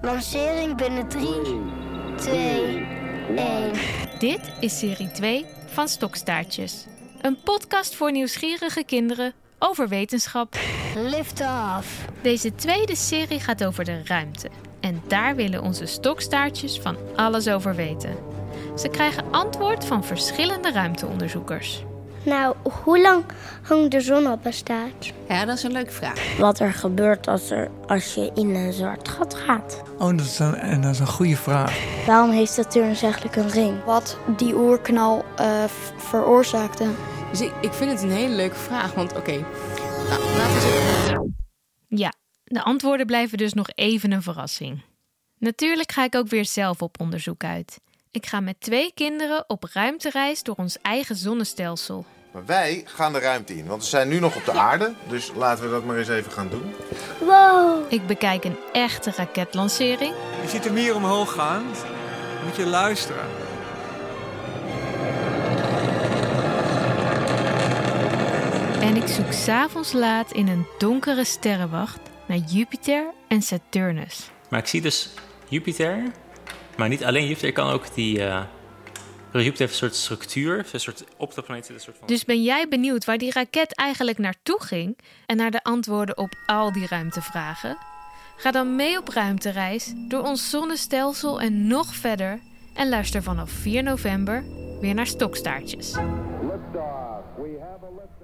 Lancering binnen 3, 2, 1. Dit is serie 2 van Stokstaartjes. Een podcast voor nieuwsgierige kinderen over wetenschap. Lift off. Deze tweede serie gaat over de ruimte. En daar willen onze stokstaartjes van alles over weten. Ze krijgen antwoord van verschillende ruimteonderzoekers. Nou, hoe lang hangt de zon op een staart? Ja, dat is een leuke vraag. Wat er gebeurt als, er, als je in een zwart gat gaat. Oh, dat is een, en dat is een goede vraag. Waarom heeft Saturnus eigenlijk een ring? wat die oerknal eh, v- veroorzaakte. Dus ik, ik vind het een hele leuke vraag, want oké. Nou, laten we zeggen- Ja, de antwoorden blijven dus nog even een verrassing. Natuurlijk ga ik ook weer zelf op onderzoek uit. Ik ga met twee kinderen op ruimtereis door ons eigen zonnestelsel. Maar wij gaan de ruimte in, want we zijn nu nog op de aarde. Dus laten we dat maar eens even gaan doen. Wow! Ik bekijk een echte raketlancering. Je ziet hem hier omhoog gaan. Moet je luisteren. En ik zoek s'avonds laat in een donkere sterrenwacht naar Jupiter en Saturnus. Maar ik zie dus Jupiter. Maar niet alleen Jupiter, ik kan ook die. eh, Jupiter heeft een soort structuur. heeft Een soort, op de planeet zit een soort van. Dus ben jij benieuwd waar die raket eigenlijk naartoe ging en naar de antwoorden op al die ruimtevragen? Ga dan mee op ruimtereis door ons zonnestelsel en nog verder en luister vanaf 4 november weer naar Stokstaartjes. Liftoff. We have a liftoff.